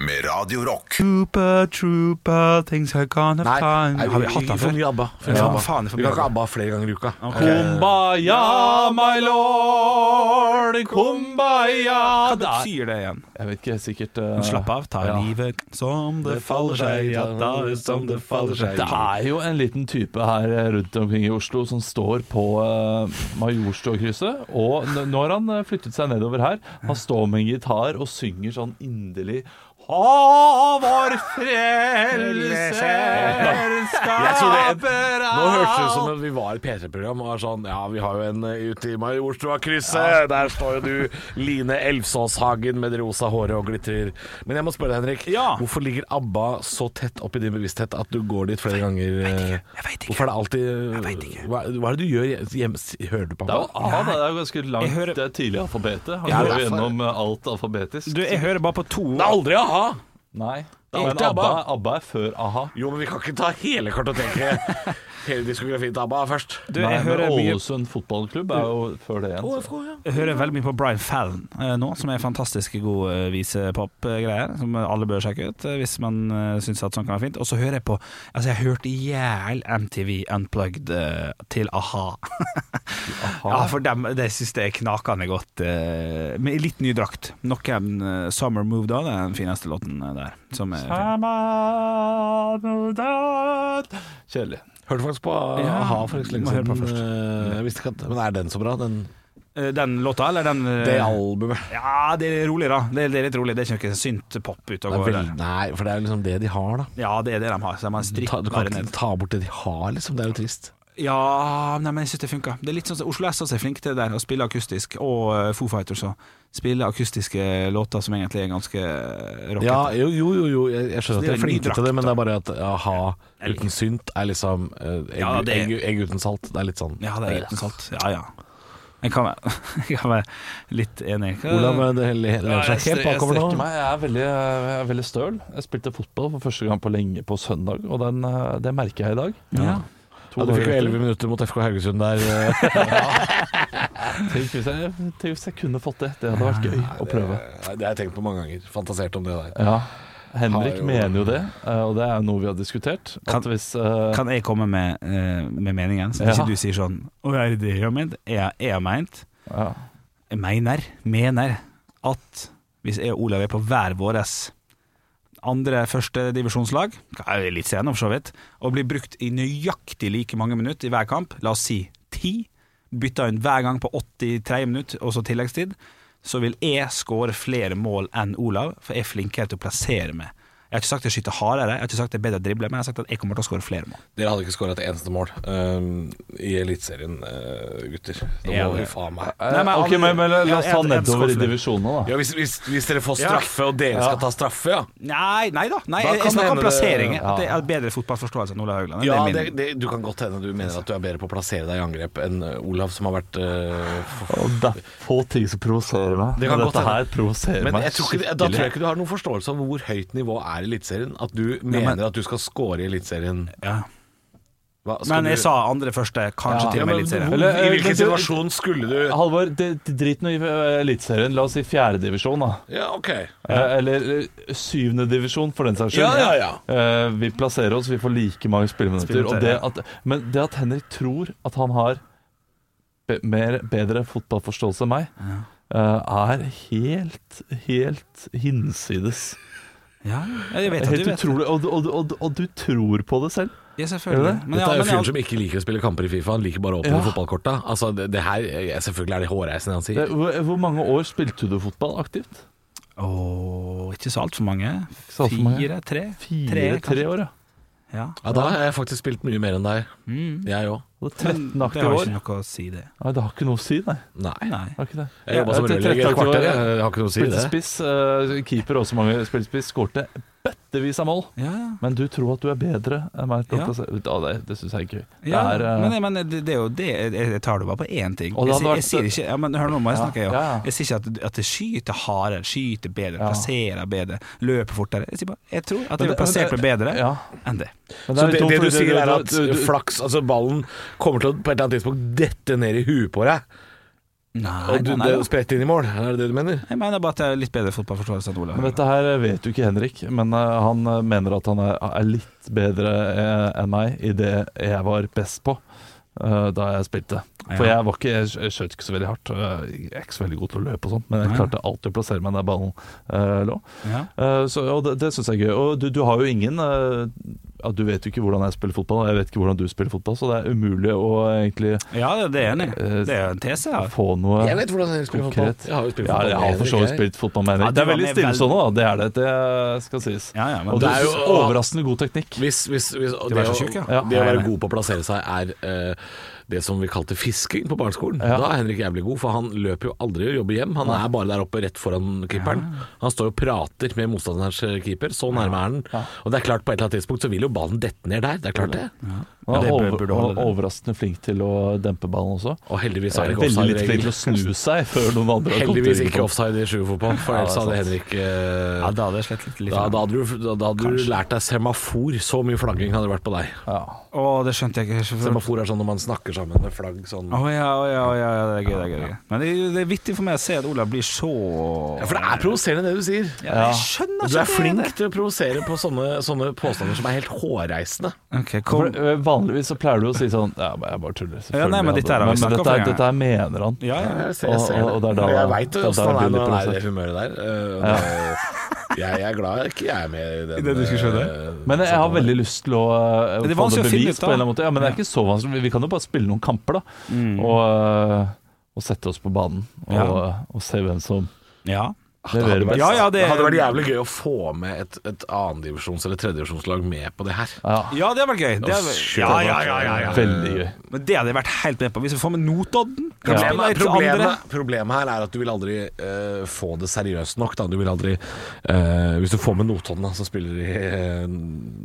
med Radio Rock. Trooper, trooper, things are gonna Nei, find nei, Har vi vi- hatt den vi- for før? mye ABBA. For mye Ja, ABBA. faen, det er for Vi kan mye ikke ha ABBA flere ganger i uka. Kumbaya, my lord, kumbaya Hva betyr det igjen? Jeg vet ikke, sikkert eh, Slapp av, ta ja. livet som det faller seg, ja, ta det som det faller seg. Det Ja, Det er jo en liten type her eh, rundt omkring i Oslo som står på eh, Majorstukrysset. Og n- nå har han eh, flyttet seg nedover her. Han står med en gitar og synger sånn inderlig Ha vår frelser skaper Nå Ah, hørtes det ut som at vi var i et P3-program og var sånn Ja, vi har jo en eh, ute i Majorstua-krysset. Der står jo du, Line Elvsåshagen, med det rosa håret og glitrer. Men jeg må spørre deg, Henrik. Ja. Hvorfor ligger ABBA så tett opp i din bevissthet at du går dit flere ganger? eh, Jeg vet ikke. Hvorfor er det alltid Hva, hva er det du gjør hjemme? Hører du på Det er jo ABBA? A, da. det er jo ganske langt Jeg hører- det er tidlig i alfabetet. Han Ja, går jo derfor- gjennom eh, alt alfabetisk. Du, jeg hører bare på to Det er aldri a-ha! Nei. er Men alltid ABBA, ABBA. ABBA er før a-ha. Jo, men vi kan ikke ta hele kartoteket, hele diskografien til ABBA først. Du, Nei, jeg men hører mye Ålesund fotballklubb er jo før det igjen. OFK, ja. jeg hører veldig mye på Brian Fallon eh, nå, som er fantastisk god eh, visepop-greier, som alle bør sjekke ut eh, hvis man eh, syns at sånn kan være fint. Og så hører jeg på Altså, jeg hørte i hjel MTV Unplugged eh, til a-ha. Ja, for dem, det syns jeg er knakende godt. eh, Med litt ny drakt. Noen eh, Summer Move, da. Det er den fineste låten eh, der. Som er fin. Kjedelig. Hørte faktisk på eh, Ja, a-ha for ikke så lenge må høre på først. siden. Eh, Jeg visste ikke at Men er den så bra? Den, Eh, Den låta, eller den eh, det albumet. Ja, det er rolig, da. Det er, det er litt rolig. Det er ikke noe synt-pop ute Det og er går. vel, der. nei, for det er liksom det de har, da. Ja, det er det de har. Så man Du, ta, strikker du kan bare ikke ned. ta bort det de har, liksom. Det er jo trist. Ja, nei, men jeg syns det funka. Det er litt sånn som Oslo S også er flink til det der, å spille akustisk. Og eh, Foo Fighters òg. Spille akustiske låter som egentlig er ganske eh, rockete. Ja, jo, jo, jo, jo. Jeg, jeg skjønner Så at det er jeg en ny flinter til drakt, det, men det er bare at a-ha uten synt er liksom eh, egg, Ja, det- egg, egg uten salt. Det er litt sånn. Ja, det er uten salt. Ja, ja. Jeg kan være, jeg kan være litt enig. Eh, Olav det hele- hele lener seg Jeg, helt bakover nå. meg. Jeg er veldig, jeg er veldig støl. Jeg spilte fotball for første gang på lenge på søndag, og den, eh, det merker jeg i dag. Ja. To Ja, du fikk jo dager etter. 11 minutter mot FK Haugesund der. eh. Tenk hvis jeg, tenk hvis jeg kunne fått det. Det hadde vært gøy å prøve. Nei, Det har jeg tenkt på mange ganger. Fantasert om det der. Ja. Henrik Har jo- mener jo det, eh, og det er noe vi har diskutert. Kan- At hvis eh, Kan jeg komme med, eh, med meningen, så ikke Ja. du sier sånn Å, er det det jeg har ment? Jeg, jeg har meint ja. Jeg mener, mener at hvis jeg og Olav er på hver våres andre førstedivisjonslag, litt senere for så vidt, og blir brukt i nøyaktig like mange minutter i hver kamp, la oss si ti, bytta inn hver gang på 83 minutter, og så tilleggstid, så vil jeg skåre flere mål enn Olav, for jeg er flinkere til å plassere meg. Jeg har ikke sagt jeg skyter hardere, jeg har ikke sagt jeg er bedre til å drible, men jeg har sagt at jeg kommer til å skåre flere mål. Dere hadde ikke skåra et eneste mål ehm, i Eliteserien, eh, gutter. Det Ja, må vi det- faen meg Eh, men Ok, alle- men, men la oss Ja, ta en- en nedover i skuffelse. divisjonene, da. ja, hvis, hvis, hvis dere får Ja. straffe, og dere skal ta straffe, ja. Nei, nei da. Nei, Da jeg, kan jeg snakker om det hende det- plasseringer. ja. At det er bedre fotballforståelse enn Olav Haugland. det ja er det, min- det, du kan godt hende du mener at du er bedre på å plassere deg i angrep enn eh, Olav, som har vært eh, for- Og det er få ting som provoserer meg. Det kan Men godt dette hende. her provoserer Men meg jeg tror ikke, da tror jeg ikke du har noen forståelse av hvor høyt nivå er i Eliteserien. At du mener men- at du skal score i Eliteserien. Ja. Hva, skal Men jeg du- sa andre første, kanskje Ja. til og med Ja, men Eliteserien. hvor- Eller, I eh, hvilken men du- situasjon skulle du Halvor, det- det- drit nå i eh, Eliteserien. La oss si fjerdedivisjon, da. Ja, OK. Eh, Eller syvendedivisjon, for den saks skyld. Ja, ja, Eh, Vi plasserer oss, vi får like mange spilleminutter. Spilleminutter, Og det at, men det at Henrik tror at han har be mer, bedre fotballforståelse enn meg, eh, er helt, helt hinsides. Ja, jeg vet at du Helt vet. utrolig. Og, og, og, og du tror på det selv. Ja, selvfølgelig. Gjør det? Men, ja, Dette er jo men fyren jeg- som ikke liker å spille kamper i Fifa. Han liker bare å åpne Ja. fotballkorta. Altså, det, det her, eh, selvfølgelig er det hårreisende han Det, sier. Eh, hvor, hvor mange år spilte du fotball aktivt? Åh, ikke så altfor mange. så altfor mange. Fire, tre. Fire-tre kanskje. år, ja. Ja. Mm. Ja, da har jeg faktisk spilt mye mer enn deg. Jeg òg. Og det er Men 13 det har aktive jo år. ikke noe å si, det. Nei, det har ikke noe å si, nei. Nei. Nei. Det har ikke det. Jeg jobba som Ja, til rørlegger i 13 et kvarter. år, Jeg har ikke noe å si i Spilte det. spiss, eh, keeper også mange spilte spiss, skårte metervis av mål. Ja, ja. Men du tror at du er bedre enn meg. til å Ja. plassere- Å, det det syns jeg er gøy. Ja, det er, eh, men, jeg, mener, det, det er jo det jeg, jeg tar det bare på én ting. Og Jeg, det si- jeg hadde vært- sier ikke ja, men Hør nå, må jeg Ja, snakke. Jeg, ja, ja. også. jeg sier ikke at, at det skyter hardere, skyter bedre, Ja. plasserer bedre, løper fortere. Jeg sier bare jeg tror at jeg Men det- vil plassere men meg det- bedre ja. enn det. men Så er det, dumt, det du fordi sier er at du- du- flaks, altså ballen kommer til å på et eller annet tidspunkt dette ned i huet på deg, Nei, og du, nei, nei, det da. spretter inn i mål. Er det det du mener? Jeg mener bare at jeg har litt bedre fotballforståelse enn Olav. Men dette her vet jo ikke Henrik, men eh, han eh, mener at han er, er litt bedre eh, enn meg i det jeg var best på eh, da jeg spilte. For Ja. jeg var ikke, jeg skj- jeg skjøt ikke så veldig hardt. eh, Jeg er ikke så veldig god til å løpe og sånn, men jeg Nei. klarte alltid å plassere meg der ballen eh, lå. Ja. Eh, så, og det, det syns jeg er gøy. Og du, du har jo ingen eh, ja, Du vet jo ikke hvordan jeg spiller fotball, og jeg vet ikke hvordan du spiller fotball, så det er umulig å egentlig ja, det er jeg enig. i. Eh, Det er jo en tese. Ja. få noe Jeg vet hvordan jeg spiller fotball. Konkret. Jeg har jo spilt Ja, fotball. jeg har for så vidt spilt fotball med Henrik. Ja, du det er var veldig med stillestående, da. Det er det. Det skal sies. Ja, ja, men og det det er er jo- overraskende god teknikk. Hvis, hvis, hvis, og Det det, var så å, tjukk, ja. Ja. det å være god på å plassere seg er eh, det som vi kalte fisking på barneskolen. Ja. Da er Henrik jævlig god, for han løper jo aldri og jobber hjem. Han er bare der oppe rett foran keeperen. Han står og prater med motstanderens eh, keeper, så nærme er han. Og det er klart, på et eller annet tidspunkt så vil jo ballen dette ned der. Det er klart det. Han er det bør- over, burde holde og det. overraskende flink til å dempe ballen også. Og heldigvis er det Eh, ikke Veldig litt flink til å offside-regel. snu seg før noen andre har Heldigvis inn på ikke den. offside i sjuerfotball, for Ja, ellers det er hadde sant. Henrik eh, Ja, da hadde jeg slettet litt. da, da hadde du, da, da hadde du lært deg semafor. Så mye flagging hadde det vært på deg. Ja. Å, det skjønte jeg ikke. Å Semafor er sånn når man snakker sammen med flagg sånn ja, å ja, å ja, ja, det er gøy. Det er gøy, det er gøy. Men det, er- det er vittig for meg å se at Olav blir så Ja, for det er provoserende det du sier. Ja, Jeg skjønner Du er flink til å provosere på sånne, sånne påstander som er helt hårreisende. Ok, For, kom. eh, vanligvis så pleier du å si sånn Ja, men jeg bare tuller. Ja, nei, men selvfølgelig. dette her har vi men, snakket dette, om her- før, ja. dette her mener han. Ja, ja. Jeg ser, jeg ser Og- og- og det er det. da- Og jeg veit det er jo da åssen han er det blir når han er i provosert. det humøret der. Eh, og det- Jeg, jeg er glad jeg ikke er med i den, den diskusjonen der. eh, Men jeg har veldig lyst til å eh, Det er få vanskelig det å finne bevist ut av. på en eller annen måte. Ja, men det er ikke så vanskelig. Vi- Vi kan jo bare spille noen kamper, da. Og, eh, og sette oss på banen. Og, Mm. eh, Ja. og se hvem som ja. det leverer hadde vært, best. Ja, ja, det- det hadde vært jævlig gøy å få med et, et annendivisjons- eller tredjedivisjonslag med på det her. Ja. Ja, det hadde vært gøy. Det hadde, Shit, ja, ja, det ja, hadde ja, ja. Veldig gøy. Men det hadde jeg vært helt med på. Hvis vi får med Notodden kan vi spille Problemet, et til andre. problemet, problemet her er at du vil aldri eh, få det seriøst nok. Da. Du vil aldri eh, Hvis du får med Notodden, da, som spiller i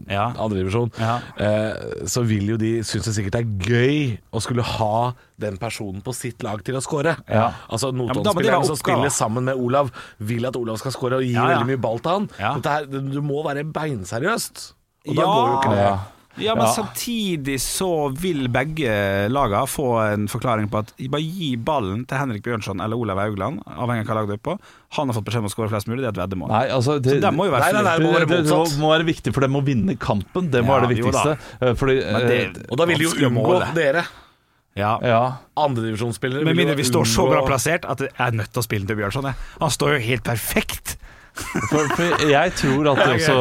eh, Ja. andredivisjon, Ja. eh, så vil jo de synes det sikkert er gøy å skulle ha den personen på sitt lag til å score. Ja. Altså men da må det være Notodden-spilleren som oppgave. spiller sammen med Olav, vil at Olav skal score og gi Ja, ja. veldig mye ball til han. Ja. Dette her, du må være beinseriøst. Og da Ja. går jo ikke det. Ja. Ja, men Ja. samtidig så vil begge laga få en forklaring på at bare gi ballen til Henrik Bjørnson eller Olav Haugland, avhengig av hva lag du er på. Han har fått beskjed om å skåre flest mulig, det er et veddemål. Nei, altså det, Så det må jo være Nei, nei, nei, det må det, være det, det må, motsatt. må være viktig for dem å vinne kampen. Det må Ja, være det jo da. viktigste. Eh, Fordi Men det- eh, Og da vil de jo Vanskelig å unngå måle. dere. Ja. Ja. Andredivisjonsspillere Med Eh, vil jo mindre vi står så unngå- bra plassert at jeg er nødt til å spille den til Bjørnson. jeg. Han står jo helt perfekt. For, for jeg tror at de, også,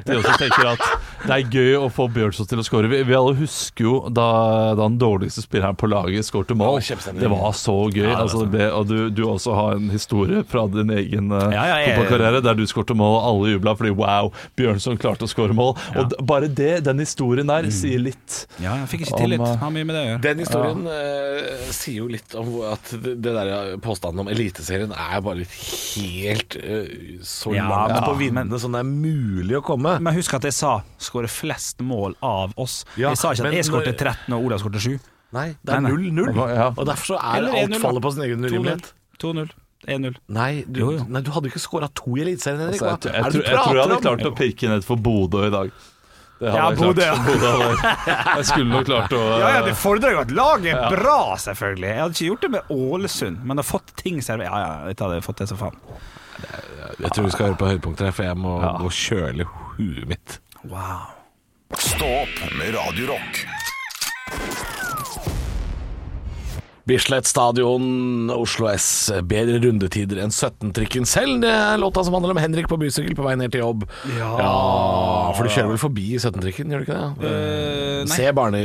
at de også tenker at det er gøy å få Bjørnson til å skåre. Vi, vi alle husker jo da, da den dårligste spilleren på laget skårte mål. Det var kjempestemning. Det var så gøy. altså, det ble, og du, du også har en historie fra din egen eh, Ja, ja, jeg- fotballkarriere der du skårte mål, og alle jubla fordi wow, Bjørnson klarte å skåre mål. Og d- bare det, den historien Mm. der, sier litt. Ja, jeg fikk ikke Om, tillit. eh, Har mye med det å gjøre. Den historien eh, sier jo litt om hvor- at det, det der påstanden om Eliteserien er bare litt helt eh, så Ja, langt men- på men- vindene som det er mulig å komme. Men husk at jeg sa 'skåre flest mål av oss'. Ja, jeg sa ikke men at jeg skårte når- 13 og Olav skårte 7. Nei, det er Nei, nei. 0-0. Ja. Og derfor så er Eller alt 1-0, faller da. på sin egen 2-0. urimelighet. 2-0. 1-0. Nei, du- Jo, jo. nei, du hadde jo ikke scora to i Eliteserien, Henrik. Så Altså, jeg, Hva er det du jeg, tror- jeg tror jeg hadde prater om? klart å pirke ned for Bodø i dag. Det Ja, jeg Bodø, klart. ja. Bodø hadde- jeg skulle nok klart å Ja, ja, Det fordrer jo at laget er bra, selvfølgelig. Jeg hadde ikke gjort det med Ålesund, men har fått ting servert. Ja, ja, jeg hadde fått det som faen. Jeg tror vi skal høre på høydepunkter her, for jeg må gå og kjøle huet mitt. Wow. Stå opp med Radio Rock. Bislett stadion, Oslo S. Bedre rundetider enn 17-trikken selv. Det er låta som handler om Henrik på bysykkel på vei ned til jobb. Ja, For du kjører vel forbi 17-trikken, gjør du ikke eh, det? nei. Eh, se, bare,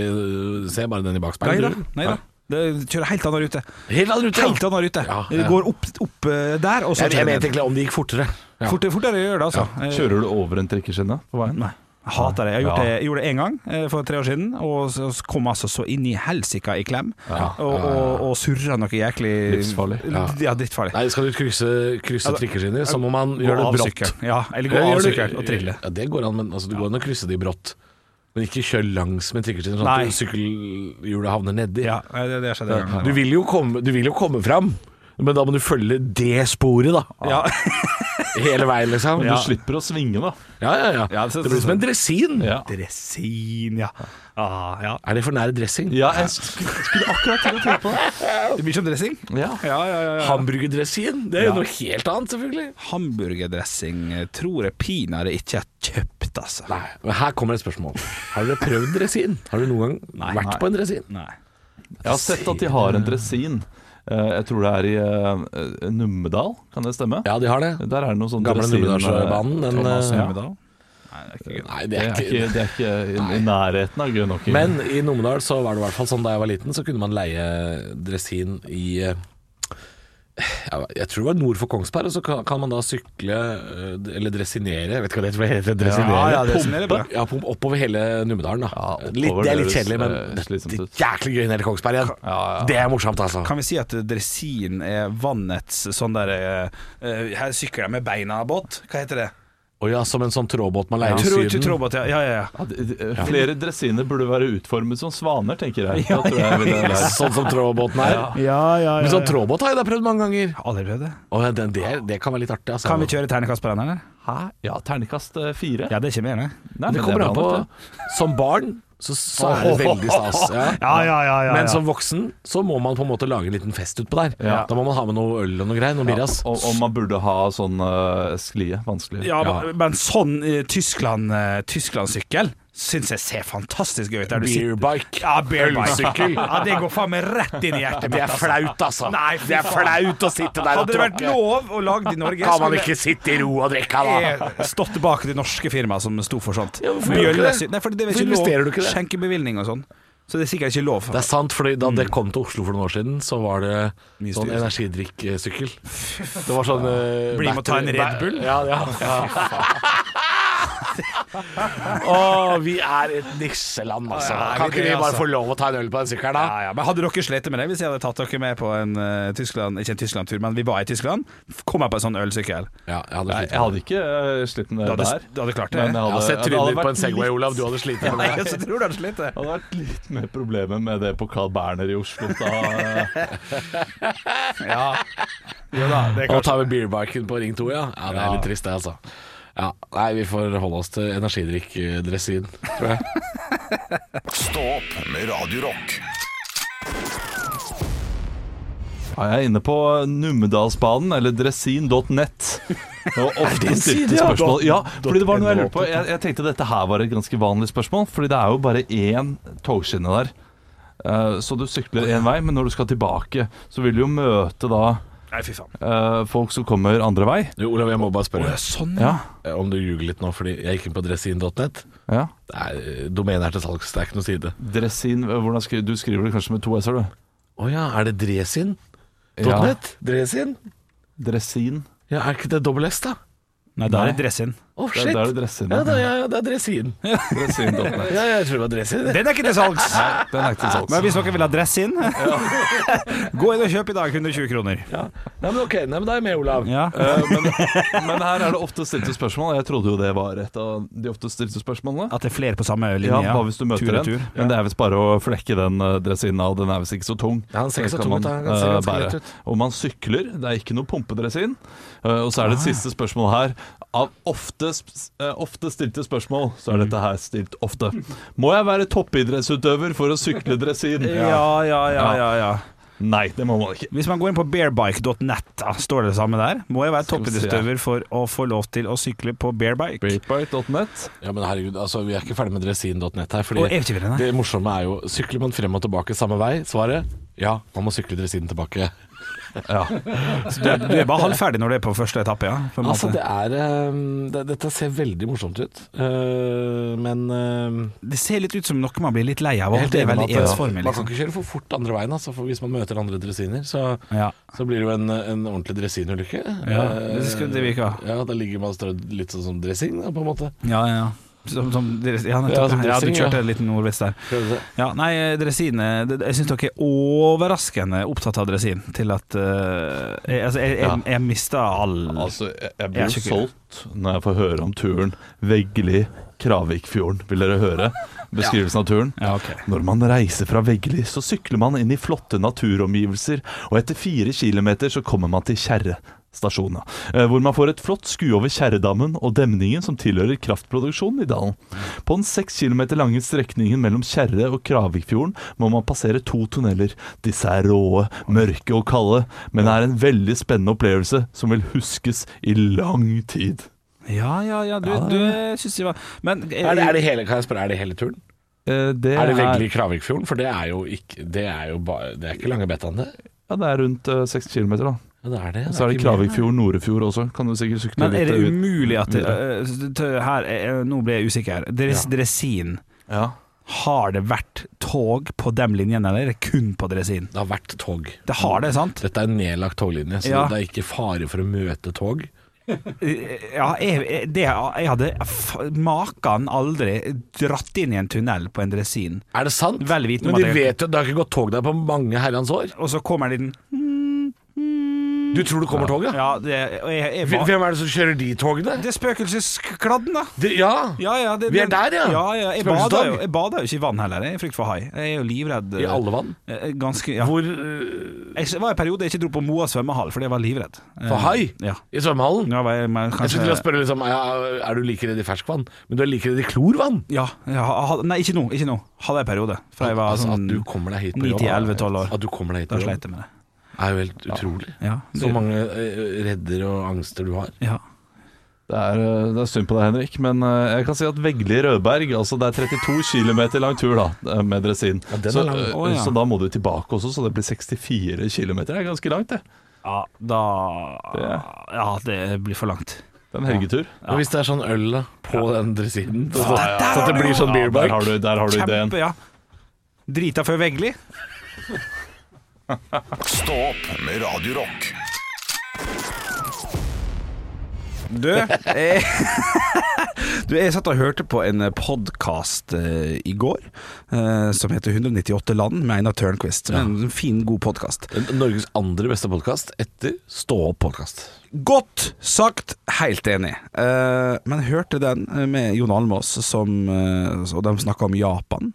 se bare den i Nei bakspeilet. da. du. Nei da. Det kjører helt annen rute. Helt annen rute. Helt ja. annen rute. Ja, Det ja. går opp, opp eh, der, og så Jeg, jeg kjører mente den. egentlig om det gikk fortere. Ja. Fort- Fortere gjør det, altså. Eh, Kjører du over en trikkeskinne på veien? Nei. Jeg Hater det. Jeg, har gjort Ja. det, jeg gjorde det én gang eh, for tre år siden, og så så kom altså så inn i helsika i klem. Og, og, og surra noe jæklig Livsfarlig. Ja, drittfarlig. Nei, skal du krysse, krysse Altså, trikkeskinner, så må man gjøre Gå det av brått. sykkelen. Ja, eller gå Ja, av gjør sykkelen og trille. Ja, det går an, men altså, det går an å krysse de brått. Men ikke kjør langs med trikkeskinner, sånn Nei. at du- sykkelhjulet havner nedi. Ja, nei, det, det skjedde en gang. Du vil, jo komme, du vil jo komme fram, men da må du følge det sporet, da. Ja, Hele veien, liksom. Du Ja, slipper å svinge, da. ja, ja. Ja, det, så- blir som en dresin. Ja. Dresin, ja. Ah, ja. Er det for nære dressing? Ja, jeg sk- skulle akkurat til å tenke på det. Det blir som dressing. Ja. Ja, ja, ja, ja. Hamburgerdressin? Det er jo Ja. noe helt annet, selvfølgelig. Hamburgerdressing eh, tror jeg pinadø ikke er kjøpt, altså. Nei, men her kommer et spørsmål. Har dere prøvd dresin? Har dere noen gang Nei. vært på en dresin? Nei. Jeg har sett at de har en dresin. Eh, Jeg tror det er i eh, Numedal, kan det stemme? Ja, de har det. Der er det noe sånn Gamle dresin- Numedalsbanen. den, Thomas eh, Numedal? Nei, det er ikke gøy. Nei, Det er ikke, det er ikke i, i nærheten av gøy nok. Men i Numedal så var det i hvert fall sånn da jeg var liten, så kunne man leie dresin i eh, ja, jeg tror det var nord for Kongsberg, og så kan, kan man da sykle eh, eller dresinere Jeg vet ikke hva det heter, hva heter. det? Dresinere? Ja, ja, dresinere er bra. Pumpe. Ja, pump oppover hele Numedalen, da. Ja, oppover litt, det er litt høres, kjedelig, men eh, det slitsomt det ut. er jæklig gøy nede i Kongsberg igjen. Det er morsomt, altså. Kan vi si at dresin er vannets sånn der eh, eh, Her sykler jeg med beina-båt? Hva heter det? Å ja, som en sånn tråbåt man leier i Tro- Syden. Tråbåt, ja. Ja, ja, ja. Ja, de- de- Flere dressiner burde være utformet som svaner, tenker jeg. Da tror jeg jeg ville lært. Sånn som tråbåten er. Men sånn tråbåt har jeg da prøvd mange ganger. Aldri prøvd det. Å, ja, det, det, det kan være litt artig, altså. Kan vi kjøre ternekast på den, eller? Hæ? Ja, terningkast eh, fire. Ja, det kommer gjerne. Nei, men Det kommer er an bra på nok, det. Som barn så, så er det veldig stas. Ja. Men som voksen så må man på en måte lage en liten fest utpå der. Ja. Da må man ha med noe øl og noe greier. Noe birras. Ja, og, og man burde ha sånn eh, sklie. Vanskelig. Ja, men- men sånn eh, Tyskland eh, Tyskland-sykkel syns jeg ser fantastisk gøy ut. Der du sitter Beerbike. ja, bear bike. Ølsykkel. Ja, det går faen meg rett inn i hjertet Det mitt. er altså. flaut, altså. Nei, fy det er faen. flaut å sitte der og Hadde det vært tråkke. lov å lage det i Norge, Kan man skulle ikke sitte i ro og drikke, da? jeg stått bak det norske firmaet som sto for sånt. Ja, hvorfor gjør du ikke det? Bjølle- Nei, fordi det er Hvorfor ikke investerer du lov. ikke det? Skjenkebevilgning og sånn. Så det er sikkert ikke lov. Det er sant, for da det kom til Oslo for noen år siden, så var det Mye sånn styr. energidrikksykkel. Det var sånn eh, Bli med og ta en battery- Red Bull? Ja, ja. Å, vi er et nisseland, altså. Ja, Kan vi ikke det, vi bare altså. få lov å ta en øl på den sykkelen, da? Ja, ja, men Hadde dere slitt med det hvis jeg hadde tatt dere med på en eh, Tyskland Ikke en Tyskland-tur, men vi var i Tyskland. Kom jeg på en sånn ølsykkel. Ja, jeg hadde Nei, slitt jeg hadde ikke uh, slitt med Du det hadde, der. du hadde klart det? Men eh, jeg hadde, Jeg har sett det hadde tryner på vært en Segway, litt- Olav. Du hadde slitt med Nei, det. jeg tror du hadde slitt det. Det hadde vært litt mer problemer med det på Carl Berner i Oslo. Da. eh. Og ta med beerbarken på Ring 2, ja. Ja, Det er litt trist, det, altså. Ja, nei, vi får holde oss til energidrikk-dressin, tror jeg. Stå opp med Radio Rock. Ja, jeg er inne på Numedalsbanen, eller dresin.net. Og ofte stilte spørsmål. Ja, fordi det var noe jeg lurte på. Jeg, jeg tenkte dette her var et ganske vanlig spørsmål, fordi det er jo bare én togskinne der. Eh, Så du sykler én vei, men når du skal tilbake, så vil du jo møte da Nei, fy faen. eh, folk som kommer andre vei. Du, Olav, jeg må bare spørre Sånn, Ja, eh, om du ljuger litt nå, fordi jeg gikk inn på dressin.net. ja. Det er- Domenet er til salgs, det er ikke noe side. Dresin eh, hvordan skri, Du skriver det kanskje med to s-er, du? Å ja, er det dresin? Ja. .net? Dresin? Dresin. Ja, er ikke det dobbel S, da? Nei, da er det dressin. Å, Det shit. er, det er dresin. ja, Ja. da, ja, ja, det er dresin. Dresin.net. Ja, jeg tror det var dresin. Den er ikke til salgs! Den er ikke til salgs. Men hvis dere vil ha dressin, gå inn og kjøp i dag. 120 kroner. Ja. Nei, men ok, nei, men da er jeg med, Olav. Ja. Eh, men, men her er det ofte stilte spørsmål. og Jeg trodde jo det var et av de ofte stilte spørsmålene. At det er flere på samme Ja, linje. Hva hvis du møter tur og en? tur. Men det er visst bare å flekke den eh, dressinen av. Den er visst ikke så tung. Ja, den ser Den ikke så kan tung ut, man, da. Den ser eh, ganske bære. lett ut. Og man sykler. Det er ikke noe pumpedressin. Eh, og så er Ah. det et siste spørsmål her. Av ofte, sp- eh, ofte stilte spørsmål, så Mm. er dette her stilt ofte. Må jeg være toppidrettsutøver for å sykle dressin? Ja, ja, ja, ja, ja. Nei, det må man ikke. Hvis man går inn på bearbike.net, da, står det det samme der? Må jeg være Skal vi se. toppidrettsutøver for å få lov til å sykle på bearbike? Beatbite.net. Ja, men herregud, altså, vi er ikke ferdig med dresin.net her, Og fordi eventyrerne. det morsomme er jo, sykler man frem og tilbake samme vei, svaret? Ja, man må sykle dresinen tilbake. Ja. Du, er- du er bare halvferdig når du er på første etappe, ja. På en Altså, måte. det er, eh, det, dette ser veldig morsomt ut, eh, men... eh, Det ser litt ut som noe man blir litt lei av. Jeg er og helt Det er enig med veldig at, ja, ensformig. Man kan Liksom. ikke kjøre for fort andre veien, altså, for hvis man møter andre dresiner, så, Ja. så blir det jo en, en ordentlig dresinulykke. Ja, Eh, det skulle det vi ikke ha. Ja, da ligger man strødd litt sånn som dressing, da, på en måte. Ja, ja, ja. Som, som dere, ja, nettopp. Ja, som ja, du dressing, ja. kjørte en liten ordvits der. Prøvde det. Ja, nei, dresine det- Jeg syns dere er overraskende opptatt av dresin til at eh, jeg, Altså, jeg, jeg, jeg mista all Altså, jeg, jeg Mm. Jeg er blir jo så kul. solgt når jeg får høre om turen Veggli-Kravikfjorden. Vil dere høre beskrivelsen av turen? Ja, ok. Når man reiser fra Veggli, så sykler man inn i flotte naturomgivelser, og etter fire kilometer så kommer man til Kjerre stasjon, da, eh, hvor man får et flott skue over Kjerredammen og demningen som tilhører kraftproduksjonen i dalen. På den seks kilometer lange strekningen mellom Kjerre og Kravikfjorden må man passere to tunneler. Disse er råe, mørke og kalde, men er en veldig spennende opplevelse som vil huskes i lang tid. Ja, ja, ja, du, du syns det var Men eh, Er det, er det hele, kan jeg spørre, er det hele turen? Eh, Det Er det Veggli Kravikfjorden? For det er jo ikke Det er jo bare Det er ikke lange betaen, det. Ja, det er rundt eh, seks kilometer, da. Ja, det er det. Så er det ikke mer. Kravikfjord, Norefjord også. Kan du sikkert sykle men litt er det ut. umulig at det, videre. eh, s- t- her, eh, Nå ble jeg usikker. Dres, Dresin, Ja. har det vært tog på de linjene, eller er det kun på dresin? Det har vært tog. Det har det, sant? Dette er en nedlagt toglinje, så Ja. det er ikke fare for å møte tog. Eh, Ja, jeg, jeg- det, jeg hadde f- makan aldri dratt inn i en tunnel på en dresin. Er det sant? Vel vitende om Men de at det- vet jo at det har ikke gått tog der på mange herrens år. Og så kommer det en liten Du tror det kommer tog, ja? Ja, det, og jeg, jeg, Hvem var- hvem er det som kjører de togene? det er spøkelseskladden, da. Det, ja. Ja, ja, det, Vi er der, ja. ja, ja jeg, Spøkelsesdag. bader jo, jeg bader jo ikke i vann heller, jeg er i frykt for hai. Jeg er jo livredd. I alle vann. Eh, Ganske, ja. Hvor øh, Jeg var i en periode jeg ikke dro på Moa svømmehall fordi jeg var livredd. Eh, For hai? Ja. I svømmehallen? Ja, var jeg, men Jeg kanskje, skulle til å spørre liksom, er er du like redd i ferskvann, men du er like redd i klorvann. ja, ja, ha- nei, ikke nå. Ikke nå. Hadde jeg en periode. Fra jeg var altså, sånn at du kommer deg hit på 9 jobb, til er- 11, 12 år. At du kommer deg hit Da på sleit jeg jobb, med det. er jo helt utrolig. Ja, Så mange øh, redder og angster du har. ja. Det er, eh, det er synd på deg, Henrik, men eh, jeg kan si at Vegli Rødberg altså Det er 32 km lang tur da, eh, med dresin. den er så, lang. eh, Å, ja. så da må du tilbake også, så det blir 64 km. Det er ganske langt, det. Ja, da Det- Ja, det blir for langt. Det er en helgetur. Men hvis det er sånn øl da, på den andre siden så, Der- der så har det du- blir sånn Ja, beer der bike har du, der har du ideen. Kjempe, ja. Drita før Veggli. Stå opp med Radio Rock. Du, eh, du, jeg satt og hørte på en podkast eh, i går eh, som heter 198 land med Einar Tørnquist. Som er en fin, god podkast. Norges andre beste podkast etter Stå opp-podkast. Godt sagt, helt enig. Eh, men hørte den eh, med Jon Almaas, som, eh, og de snakka om Japan.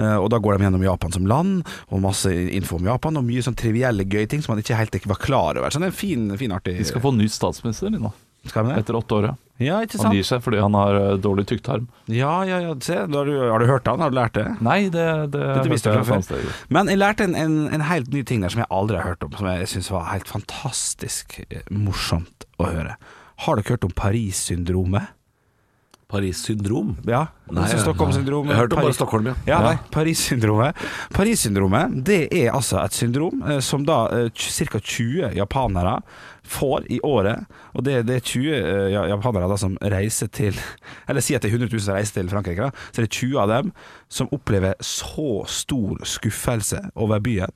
Eh, og Da går de gjennom Japan som land, og masse info om Japan. Og mye sånn trivielle, gøye ting som man ikke helt ikke var klar over. Så det er en fin, fin artig Vi skal få ny statsminister de nå, Skal vi det? etter åtte år. ja. Ja, ikke Han sant? gir seg fordi han har eh, dårlig tykktarm. Ja, ja, ja. Se, da har, du, har du hørt han? Har du lært det? Nei, det, det Eh, Dette visste jeg hørte fra et annet før. sted. Men jeg lærte en, en, en helt ny ting der som jeg aldri har hørt om, som jeg syns var helt fantastisk eh, morsomt å høre. Har dere hørt om Paris-syndromet? Paris-syndrom. Ja, altså Stockholm-syndromet. Jeg hørte om bare Paris- Stockholm, ja. Ja, nei, Paris-syndromet. Paris-syndromet det er altså et syndrom eh, som da ca. 20 japanere får i året. Og det, det er 20 eh, ja- japanere da som reiser til Eller si at det er 100 000 som reiser til Frankrike, da. Så det er 20 av dem som opplever så stor skuffelse over byen.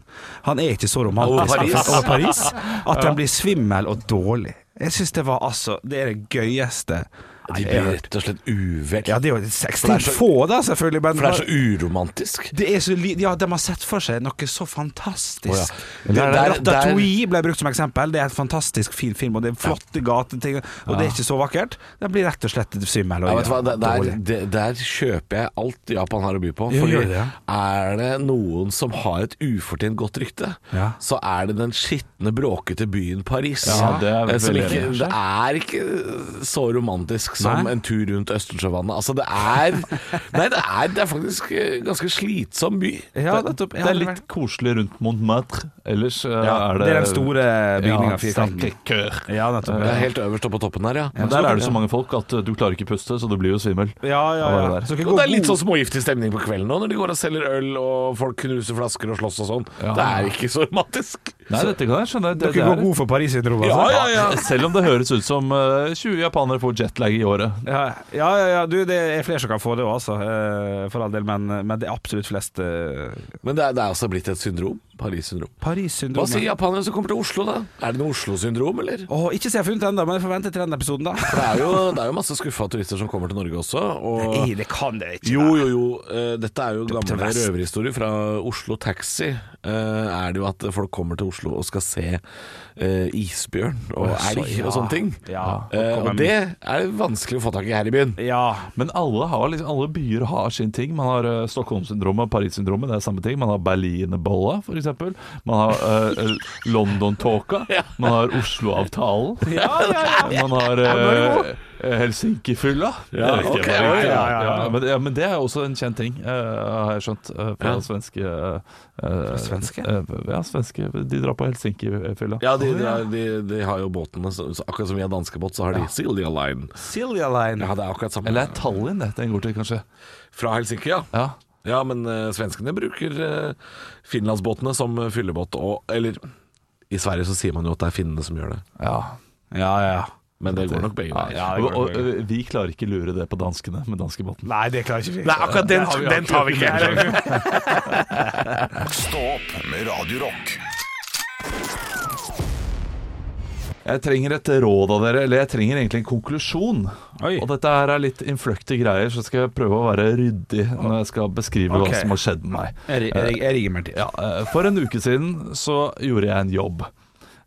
Han er ikke så romantisk Over Paris. over Paris at han blir svimmel og dårlig. Jeg syns det var altså Det er det gøyeste De jeg blir har hørt. rett og slett uvel. Ja, det er jo ekstremt få, da, selvfølgelig. Men For det er så uromantisk. det er så li ja, De har sett for seg noe så fantastisk. Å, ja. Det- Der- der- Ratatouille ble brukt som eksempel. Det er en fantastisk fin film, og det er flotte gateting, og det er ikke så vakkert. Det blir rett og slett svimmel. og- Ja, vet du hva? Der, der, dårlig. det- der kjøper jeg alt Japan har å by på. Ja, Fordi gjør det, ja. er det noen som har et ufortjent godt rykte, Ja. så er det den skitne, bråkete byen Paris. Ja, det er Eh, som veldig ikke, enig. det er ikke så romantisk som Nei. en tur rundt Østersjøvannet. Altså, det er Nei, det er, det er faktisk eh, ganske slitsom by. ja, det, nettopp. Jeg det har er aldri litt koselig rundt Montmartre. Ellers eh, vært- er det det er den store bygninga, Ja, firkanten. Sacré-Cœur. Ja, nettopp. Det er Ja, helt øverst oppe på toppen her, ja. Men der er det så mange folk at eh, du klarer ikke puste, så du blir jo svimmel. ja, Hva ja. var det der? Så dere Og går det er litt god- sånn smågiftig stemning på kvelden nå, når de går og selger øl og folk knuser flasker og slåss og sånn. Det er ikke så romantisk. Nei, dette kan jeg skjønne. Det, det Dere er går god for Paris-syndromet, Ja, altså? ja, ja. Selv om det høres ut som eh, 20 japanere får jetlag i året. Ja, ja, ja, ja. Du, det er flere som kan få det òg, altså. eh, For all del, men, men det er absolutt flest eh, Men det er, det er også blitt et syndrom. Paris-syndrom. Hva sier Paris-syndromet. japanere som kommer til Oslo, da? Er det noe Oslo-syndrom, eller? Å, ikke se jeg har funnet ennå, men jeg får vente til den episoden, da. For det er jo, det er jo masse skuffa turister som kommer til Norge også. Og Nei, det kan det ikke. jo, være. jo, jo. eh, Dette er jo til gamle vest. røverhistorier fra Oslo Taxi. eh, Er det jo at folk kommer til Oslo og skal se eh, isbjørn og elg og sånne ting. Ja. Eh, Og det er det vanskelig å få tak i her i byen. Ja. Men alle, har, liksom, alle byer har sin ting. Man har eh, Stockholm-syndromet, Paris-syndromet, det er samme ting. Man har Berlinerbolla, for eksempel. Man har eh, eh, London-tåka. Man har Oslo-avtalen. Man har eh, Helsinki-fylla. Ja, Jeg vet ikke, ok, jeg vet ikke. ja, ja, ja. Ja, men, ja, men det er også en kjent ting, eh, har jeg skjønt, eh, fra Ja. svenske eh, svenske? eh, ja, svenske. De drar på Helsinki-fylla. Ja, de, de, har- de, de har jo båtene, så, så akkurat som vi har danskebåt, så har de Silja Line. Silja Line. Ja, det er akkurat samme. Eller er Tallinn det den går til, kanskje? Fra Helsinki, ja. Ja. Ja, men eh, svenskene bruker eh, finlandsbåtene som eh, fyllebåt. Og, eller i Sverige så sier man jo at det er finnene som gjør det. ja. Ja, ja. Men det går nok begge veier. Ja, det går og, og, vi klarer ikke lure det på danskene med danskebåten. Nei, det klarer ikke vi. Nei, akkurat den, den tar vi ikke. Stå opp med Radio Rock. Jeg trenger et råd av dere, eller jeg trenger egentlig en konklusjon. Oi. Og dette her er litt innfløkte greier, så skal jeg prøve å være ryddig når jeg skal beskrive Ok. hva som har skjedd med meg. Jeg, ri- jeg, ri- jeg ringer meg til. Ja, eh, for en uke siden så gjorde jeg en jobb.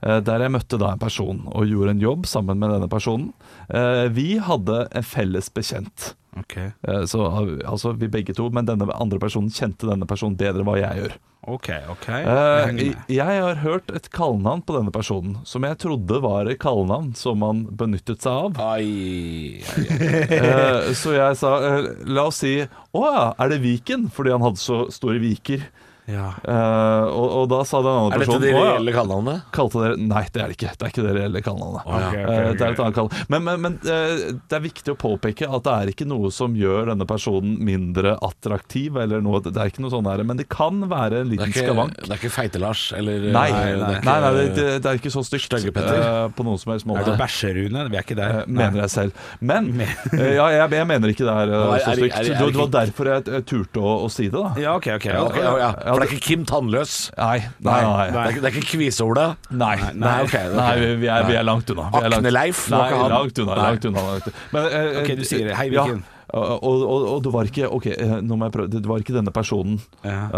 eh, Der jeg møtte da en person, og gjorde en jobb sammen med denne personen. Eh, Vi hadde en felles bekjent. Ok. Eh, Så altså, vi begge to, men denne andre personen kjente denne personen bedre enn hva jeg gjør. Ok, ok. Eh, Henger med. jeg har hørt et kallenavn på denne personen som jeg trodde var et kallenavn som han benyttet seg av. Ai, ai, ai. Eh, så jeg sa eh, la oss si å ja, er det Viken? Fordi han hadde så store viker. Ja. Eh, og, og da sa den andre Er dette personen de å sånn ja, reelle kallenavnene? kalte dere Nei, det er det ikke. Det er ikke det reelle kallenavnet. ja. Ok, ok, Eh, Det er ok. et annet kall. Men, men, men eh, det er viktig å påpeke at det er ikke noe som gjør denne personen mindre attraktiv. Eller noe, det er ikke noe sånn her, Men det kan være Det en er liten ikke, skavank. det er ikke Feite-Lars eller Nei, eh, nei, nei, det er nei, det, ikke- det, det er ikke så stygt Stygge Petter. eh, på noen som helst Er måte. det Bæsjerune? Vi er ikke der. eh, mener jeg selv. Men eh, ja, jeg, jeg mener ikke det er eh, Nei, er det- så er det- stygt. er Det, det det var ikke- derfor jeg, jeg turte å, å si det, da. Ja, ok, ok. Ok, ja, ja. Ja, For det er ikke Kim Tannløs? Nei, nei, Det nei. er, ikke- det er ikke Kviseola? Nei, nei, Nei, ok, ok. Nei, vi, vi, er, vi er langt unna. Vi er langt- Akne-Leif var Nei, ikke han. langt unna. Nei. Langt unna, langt unna. Men, eh, eh, Ok, du sier det. Hei, ja, Viken. og, og, og det var ikke Ok, eh, nå må jeg prøve. Det var ikke denne personen eh,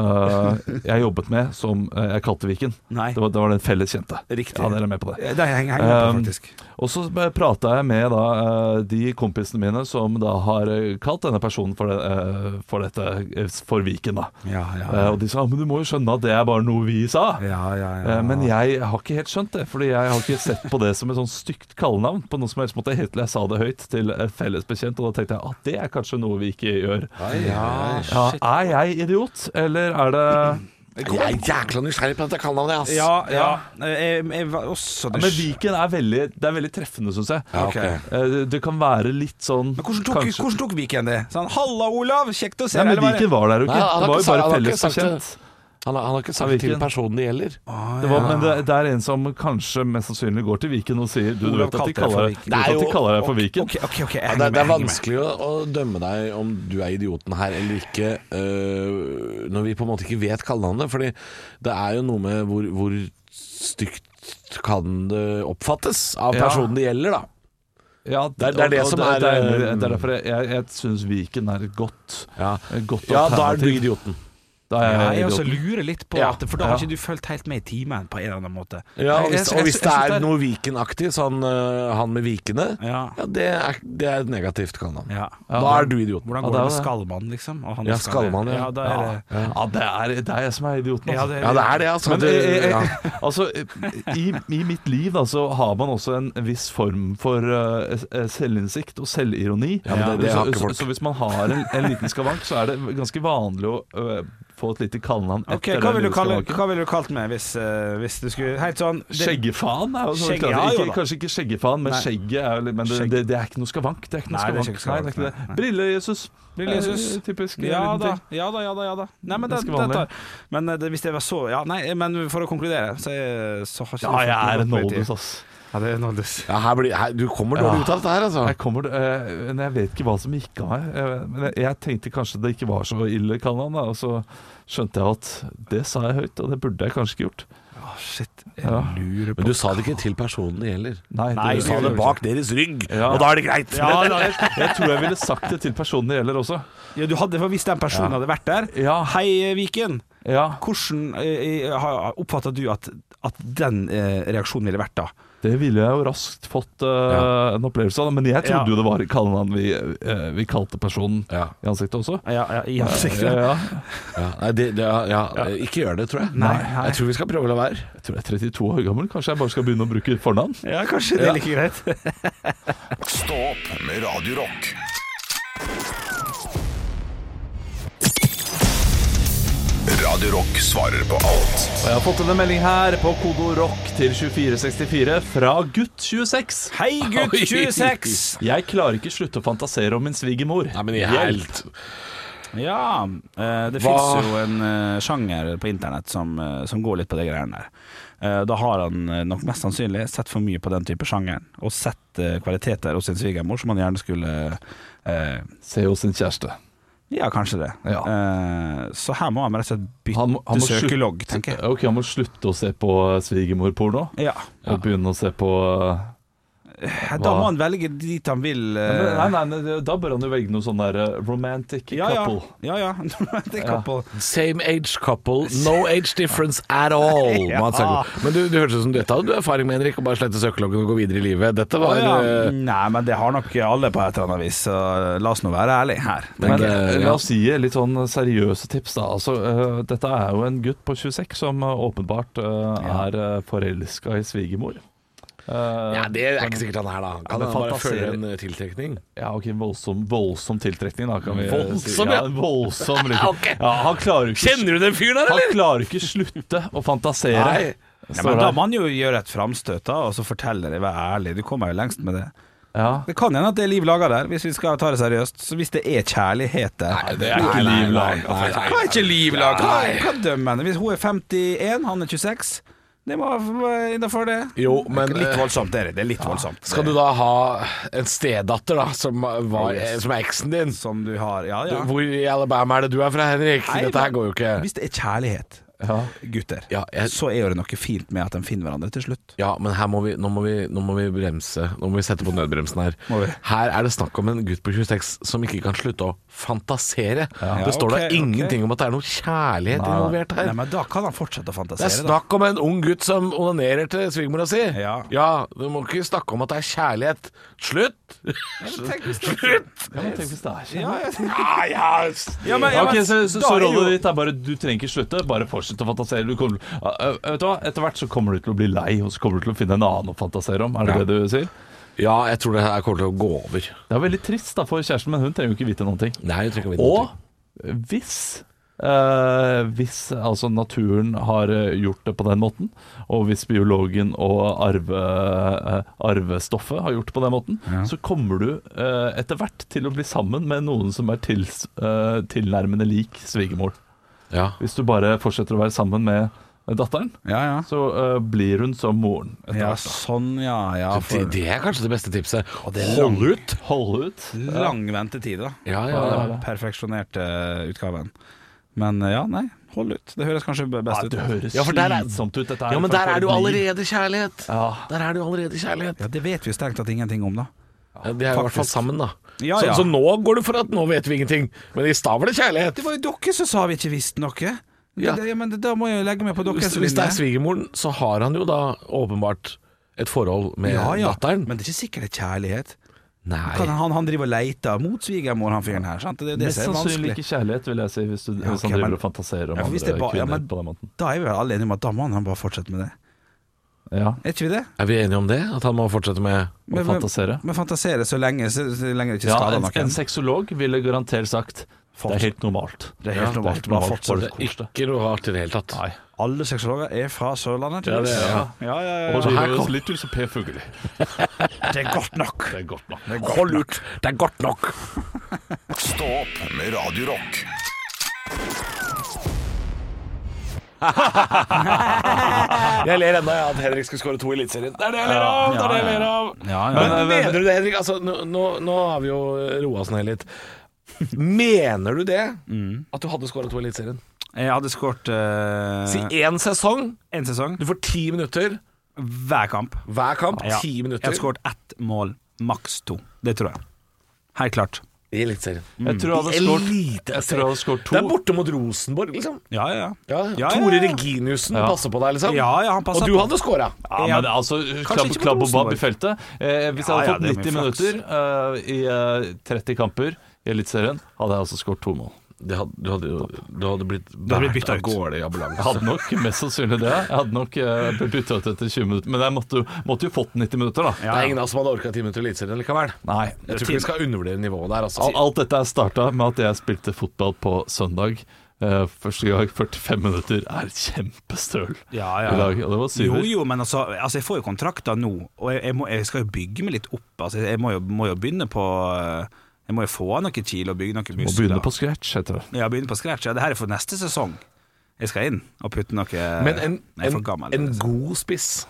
jeg jobbet med, som eh, jeg kalte Viken. Nei. Det var, det var den felles kjente. Riktig. Ja, dere er med på det. Det henger henger Eh, jeg på, Um, faktisk. Og så prata jeg med da, eh, de kompisene mine som da har eh, kalt denne personen for, det, eh, for dette eh, for Viken. da Ja, ja. Eh, Og de sa men du må jo skjønne at det er bare noe vi sa. Ja, ja, ja. Eh, Men jeg har ikke helt skjønt det, Fordi jeg har ikke sett på det som et sånn stygt kallenavn. På noe som helst måte Helt til jeg sa det høyt til en felles bekjent, og da tenkte jeg at det er kanskje noe vi ikke gjør. Ja, er jeg idiot, eller er det Jeg er jækla nysgjerrig på dette kallenavnet, ass. Ja, ja. Eh, Jeg, jeg var også Men Viken er veldig, det er veldig treffende, syns jeg. Ja, ok. Eh, det- Det kan være litt sånn Men hvordan tok, kanskje- hvordan tok Viken det? Sånn, Halla, Olav! Kjekt å se deg! Nei, eller men Viken var der jo Nei, ikke. han har Det ikke var jo sagt- han bare har felles ikke sagt bekjent. Han, har- han har ikke Ja, sagt hvilken? til personen det gjelder. Ah, Det var, men det, det er en som kanskje mest sannsynlig går til Viken og sier Du, du Olav vet at de kalte deg for kaller, Viken. du vet at Det de er jo- kaller deg for Viken. Ok, ok, ok, jeg henger med, Ja, det, det er jeg henger med. vanskelig å, å dømme deg om du er idioten her eller ikke, øh, når vi på en måte ikke vet kallenavnet. Fordi det er jo noe med hvor, hvor stygt kan det oppfattes av Ja. personen det gjelder, da. Ja, Det er- det er og- det og som det, er, det, er, eh, det er derfor jeg, jeg, jeg syns Viken er et godt, Ja, et godt da er du alternativ. idioten. Da er Ja, jeg jeg også idioten. lurer litt på Ja. at, For da har Ja. ikke du fulgt helt med i timen på en eller annen måte. Ja, og Jeg- hvis, jeg- og hvis det jeg- jeg synes er det er- noe Viken-aktig, sånn øh, han med vikene, ja, Ja. det, er, det er et negativt kallenavn. Ja. Da er du idioten. Hvordan Ja, går det det er med det. Skallmann, liksom? Og han Ja, skal- Skallmann, ja. ja. Da er det Ja, det er, det er jeg som er idioten. Ja, Altså. det- Ja, det er det, altså. Men du, eh, eh, ja. altså, eh, i, i mitt liv da, så har man også en viss form for eh, eh, selvinnsikt og selvironi. Ja, men det- det har så, ikke folk. Så, så hvis man har en, en liten skavank, så er det ganske vanlig å eh, få et lite kallenavn Ok, etter hva den ville du, kalle- lyriske maken. hva vil du kalt meg hvis, eh, hvis du skulle Helt sånn det- Skjeggefan er jo sånn Skjegge- klart. ja, jo ikke, da. Kanskje ikke skjeggefan, men Nei. skjegget er jo litt Men det, Skjegg. det, det er ikke noe skavank. Det er ikke noe Nei, det er skavank. ikke Nei, det er ikke skavank, nei, det. Brille-Jesus. Lille Jesus. Eh, Typisk. eh, Ja liten da, ting. ja da, ja da. Ja da. Nei, men det, Ganske det vanlig. tar Men eh, det, hvis det var så Ja, nei, men for å konkludere, så, er- så har ikke du fått Ja, jeg noe er en opp i tid. oldus, ass. Ja, det er en oldus. Ja, her blir, her, du kommer dårlig Ja. ut av dette her, altså. Jeg kommer, eh, men jeg vet ikke hva som gikk av meg. Eh, Men jeg, jeg tenkte kanskje det ikke var så ille, kallenavn, da. Og så skjønte jeg at det sa jeg høyt, og det burde jeg kanskje ikke gjort. Å, shit. Jeg Ja. lurer på Men du sa det ikke til personen det gjelder. Nei, Nei, Du det, sa det bak deres rygg, Ja. og da er det greit. ja, da, jeg, jeg tror jeg ville sagt det til personen det gjelder også. ja, Du hadde for Hvis den personen hadde vært der Ja. Hei, Viken. Ja, Hvordan eh, har- oppfatter du at, at den eh, reaksjonen ville vært da? Det ville jeg jo raskt fått eh, en opplevelse av, da. men jeg Ja. trodde jo det var kallenavn vi, eh, vi kalte personen Ja. i ansiktet også. Ja, ja, I Ja, ansiktet? ja. Ja, nei, det, det, ja, Ikke gjør det, tror jeg. Nei, nei. Jeg tror vi skal prøve å la være. Jeg tror jeg er 32 år gammel, kanskje jeg bare skal begynne å bruke fornavn? Ja, kanskje det er like greit. Stå opp med Radio Rock. Radio Rock svarer på alt. Og jeg har fått en melding her på kodo rock til 2464 fra gutt 26. Hei, gutt 26! Jeg klarer ikke slutte å fantasere om min svigermor. Nei, men i Hjelp. helt Ja, eh, det Hva- fins jo en eh, sjanger på internett som, eh, som går litt på de greiene der. Eh, Da har han eh, nok mest sannsynlig sett for mye på den type sjangeren, og sett eh, kvaliteter hos sin svigermor som han gjerne skulle eh, Se hos sin kjæreste. Ja, kanskje det. Ja. Eh, Så her må han rett og slett bytte Han må- han må slutte- søkelogg, tenker jeg. Ok, Han må slutte å se på eh, svigermorporno Ja. Eh, og begynne å se på eh, Da Hva? må han velge dit han vil. eh, Nei, nei, nei, da bør han jo velge noe sånn der eh, romantic ja, ja. couple. ja, ja. det er Ja. couple. Same age couple, no age difference at all. Ja. Mats Haugland. Men du, du hørtes ut som dette hadde du erfaring med, Henrik, og bare slette søkeloggen og gå videre i livet. Dette var ja. eh, Nei, men det har nok alle på et eller annet vis, så la oss nå være ærlige her. Men Men, eh, eh, la ja. oss gi litt sånn seriøse tips, da. Altså, eh, dette er jo en gutt på 26 som eh, åpenbart eh, er uh, forelska i svigermor. Eh, ja, Det er ikke sikkert han er, da. Kan men han bare fantaserer- føle en eh, tiltrekning? Ja, ok, voldsom, voldsom tiltrekning da kan vi Voldsom, si. ja. ja Voldsom, liksom Ok. ja, Han klarer jo ikke Kjenner du den fyren der, Han eller? klarer ikke slutte å fantasere Nei. Står Ja, men da der. må han jo gjøre et framstøt, da, og så fortelle det. Vær ærlig. Du kommer jo lengst med det. ja. Det kan hende at det er liv laga der, hvis vi skal ta det seriøst. Så hvis det er kjærlighet der Det er ikke liv laga nei, nei. Hva er ikke liv laga? Hva, hva dømmer han? Hvis hun er 51, han er 26 Det må være innafor det. Jo, men litt eh, voldsomt, det er det. Det er litt voldsomt. skal du da ha en stedatter, da, som, var, eh, som er eksen din? Som du har Ja, ja. Hvor i Alabama er det du er fra, Henrik? Nei, Dette her men- går jo ikke. Hvis det er kjærlighet, gutter, Ja, jeg- så er jo det noe fint med at de finner hverandre til slutt. Ja, men her må vi, nå, må vi, nå må vi bremse. Nå må vi sette på nødbremsen her. Må vi? Her er det snakk om en gutt på 26 som ikke kan slutte å fantasere. Ja, Det står da ok, ok. ingenting om at det er noe kjærlighet involvert her. Nei, men da kan han fortsette å det er fantasere, da. snakk om en ung gutt som onanerer til svigermora si. Ja. du må ikke snakke om at det er kjærlighet. Slutt! Slutt! ja, men tenk hvis det er sånn. ikke Ja, ja. Ja, men- ja, Ok, men- så, så, da så er jo- rådet ditt er bare Du trenger ikke slutte, bare fortsett å fantasere du kommer, Eh, eh, Vet du hva, etter hvert så kommer du til å bli lei Og så kommer du til å finne en annen å fantasere om Er det Ja. det du sier? ja, jeg tror det her kommer til å gå over. Det er veldig trist da for kjæresten, men hun trenger jo ikke vite noen ting Nei, jeg tror ikke vi vet noe. Og hvis eh, hvis altså naturen har eh, gjort det på den måten, og hvis biologen og arve, eh, arvestoffet har gjort det på den måten, så kommer du eh, etter hvert til å bli sammen med noen som er tils, eh, tilnærmende lik svigermor. Ja. Hvis du bare fortsetter å være sammen med datteren, Ja, ja. så eh, blir hun som moren etter Ja, hvert. da. sånn, ja. ja Det, for det er kanskje det beste tipset. det er Hold lang- ut! Hold ut. lang ventetid, da. Ja, ja, på ja. den perfeksjonerte utgaven. Men eh, ja, nei, hold ut. Det høres kanskje b- Ja, best ut. det høres Ja, for der er- slitsomt ut. Dette Ja, men for- der for er et det jo liv. allerede kjærlighet. Ja. Der er det jo allerede kjærlighet. Ja, det vet vi jo strengt tatt ingenting om, da. Ja, de er jo i hvert fall Faktisk. sammen, da. Ja, ja. Så, så nå går det for at nå vet vi ingenting, men i stad var det kjærlighet. Det var jo dere som sa vi ikke visste noe. Ja. Det, ja, men da må jeg jo legge meg på Hvis, deres hvis det linje. er svigermoren, så har han jo da åpenbart et forhold med ja, ja. datteren. Men det er ikke sikkert det er kjærlighet. Kan Nei. han, han driver og leter mot svigermor, han fyren her. Sant? Det, er jo det Mest som er sannsynlig vanskelig. ikke kjærlighet, vil jeg si, hvis, du, Ja, hvis ok, han driver men- og fantaserer om Ja, for hvis andre det ba- ja, kvinner men- på den måten. Da er vi vel alle enige om at da må han bare fortsette med det. Ja, Er ikke vi det? Er vi enige om det? At han må fortsette med å fantasere. Men fantasere så lenge, så, så lenge det ikke Ja, skader en, noen. en sexolog ville garantert sagt Det er helt normalt. Det er helt Ja, normalt. det er Bare normalt. fortsett. Bare kos deg. Ikke noe rart i det hele tatt. Nei. Alle sexologer er fra Sørlandet. Ja, det er tydeligvis. det. ja, ja, ja, Og så ja. gir vi oss litt til, så Per Fugelli. Det er godt nok. Det er godt nok. Hold ut! Det er godt nok! Stå opp med Radio Rock. Jeg ler ennå av at Henrik skulle skåre to i Eliteserien. Det er det jeg ler av! Det er det jeg ler av. Ja, ja. Men Men- mener du det, Henrik? Altså, nå, nå, nå har vi jo roa oss ned litt. Mener du det? At du hadde skåra to i Eliteserien? Jeg hadde skåret eh, Si én sesong. en sesong Du får ti minutter hver kamp. hver kamp. Ja. Ti Jeg hadde minutter skåret ett mål, maks to. Det tror jeg. Helt klart. i Eliteserien. Jeg tror jeg hadde I Mm. skåret Eliteserien. jeg tror jeg hadde skåret to. Det er borte mot Rosenborg, liksom. Ja, ja. Ja, ja, Tore ja. Reginiussen passer på deg, liksom. Ja, ja, han passer Og du på. hadde skåra. Ja, men det er altså, klapp, ikke på klapp og Rosenborg. babb i feltet. Eh, hvis Ja, jeg ja, hadde det er fått mye 90 flaks. minutter eh, i eh, 30 kamper i Eliteserien, hadde jeg altså skåret to mål. Du hadde, blitt blitt båret bytta av ut. gårde i ambulanse. Jeg hadde nok mest sannsynlig det. Jeg hadde nok eh, blitt bytta ut etter 20 minutter. Men jeg måtte, jo- måtte jo fått 90 minutter, da. Det er ingen av oss som hadde orka ti minutter i Eliteserien likevel. Nei. Jeg tror ikke vi skal undervurdere nivået der. Altså. Al- Alt dette er starta med at jeg spilte fotball på søndag. Eh, første gang 45 minutter er kjempestøl Ja, ja. i dag. Og det var Jo, syver. jo, men altså, altså jeg får jo kontrakter nå, og jeg, jeg, må, jeg skal jo bygge meg litt opp. Altså, jeg må jo, må jo begynne på eh, Jeg må jo få av noen kilo og bygge noen Må muskler. begynne på scratch, heter det. Ja, begynne på scratch. Ja, det her er for neste sesong. Jeg skal inn og putte noe Men en, Jeg er for en, gammel. en god spiss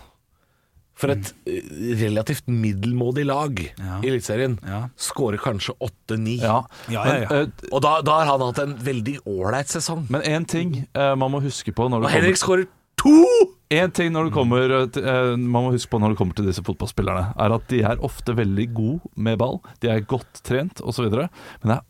for et eh, relativt middelmådig lag Ja. i Eliteserien Ja. skårer kanskje åtte-ni. Ja. Ja, ja, ja. Men, eh, Og da, da har han hatt en veldig ålreit sesong. men én ting eh, man må huske på Og når det kommer Henrik skårer to! En ting når det kommer, eh, til- eh, man må huske på når det kommer til disse fotballspillerne, er at de er ofte veldig gode med ball. De er godt trent osv. Men det er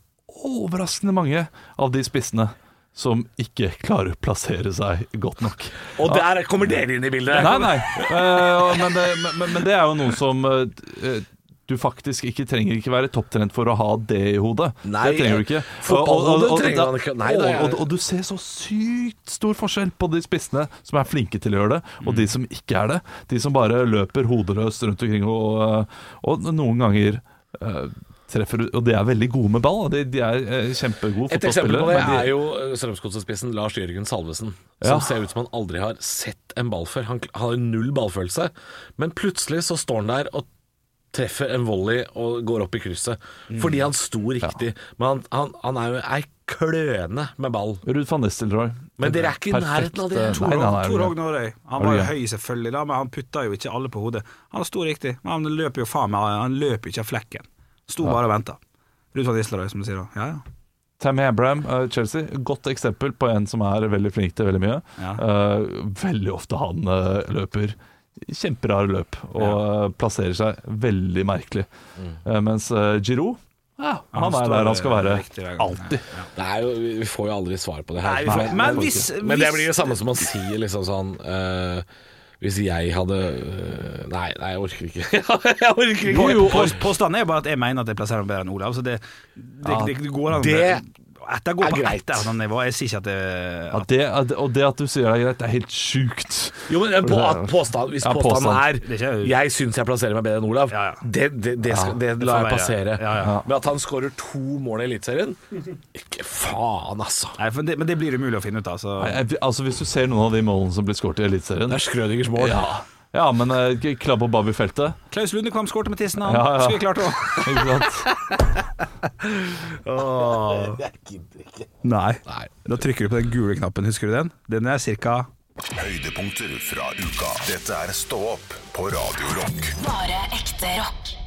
overraskende mange av de spissene som ikke klarer å plassere seg godt nok. Og der kommer dere inn i bildet. Nei, nei. Eh, men, det, men, men det er jo noe som eh, du faktisk ikke trenger ikke være topptrent for å ha det i hodet. Nei, det trenger du ikke. fotballhodet trenger da- man ikke. Nei, det er- og, og, og du ser så sykt stor forskjell på de spissene som er flinke til å gjøre det, og Mm. de som ikke er det. De som bare løper hodeløst rundt omkring og, eh, og noen ganger eh, treffer Og de er veldig gode med ball. og De, de er eh, kjempegode Et eksempel på fotballspillere. det men de- er jo eh, Strømsgodset-spissen Lars Jørgen Salvesen. Som Ja. ser ut som han aldri har sett en ball før. Han har null ballfølelse. Men plutselig så står han der og treffer en volley og går opp i krysset. Fordi han sto riktig. Men han, han, han er jo ei kløne med ball. Ruud van Nistelrooy. Men dere er ikke i Perfekt, nærheten av det. eh, Tor nei, nei, nei, Tor nei. Håg Nårøy. Han Er var du jo gæren? høy, selvfølgelig, da, men han putta jo ikke alle på hodet. Han sto riktig, men han løper jo faen meg Han løper ikke av flekken. Sto bare og venta. Ruud van Nistelrooy, som du sier. da. Ja, ja. Tammy Abraham, eh, Chelsea, godt eksempel på en som er veldig flink til veldig mye. Ja. Eh, veldig ofte han eh, løper kjemperare løp og eh, plasserer seg veldig merkelig. Eh, mens eh, Giroud ja, han, han er står, der han skal være. eh, riktig hver gang. Alltid. Det er jo, vi får jo aldri svar på det Nei, her. vi får- Nei, men vi får hvis- ikke. men det hvis- blir det samme som å si liksom sånn eh, Hvis jeg hadde eh, Nei, nei, jeg orker ikke. jeg orker Jo, ikke. jo, og Påstanden er jo bare at jeg mener at jeg plasserer ham bedre enn Olav, så det, det, det, det går an det Etter går er på greit. ett eller annet nivå. Jeg sier ikke at det Ja, det, er- det- og det at du sier det er greit, det er helt sjukt. Jo, men eh, på, at påstand, Hvis Ja, påstanden påstand. er Det er ikke- 'jeg syns jeg plasserer meg bedre enn Olav', Ja, ja. det, det, det, skal, det det får lar jeg være. passere. Ja, ja. Men at han skårer to mål i Eliteserien Ikke faen, altså. Nei, for det, men det blir umulig å finne ut av. Så. Nei, jeg- Altså Hvis du ser noen av de målene som blir skåret i Eliteserien Det er Schrødingers mål. ja. ja, men eh, klabb og babb i feltet. Klaus Lundekvam skårte med tissen, han. Ja, ja. Skulle klart det. Ikke sant? Nei. Nei. Da trykker du på den gule knappen, husker du den? Den er cirka Høydepunkter fra uka. Dette er Stå opp på Radio Rock. Bare ekte rock.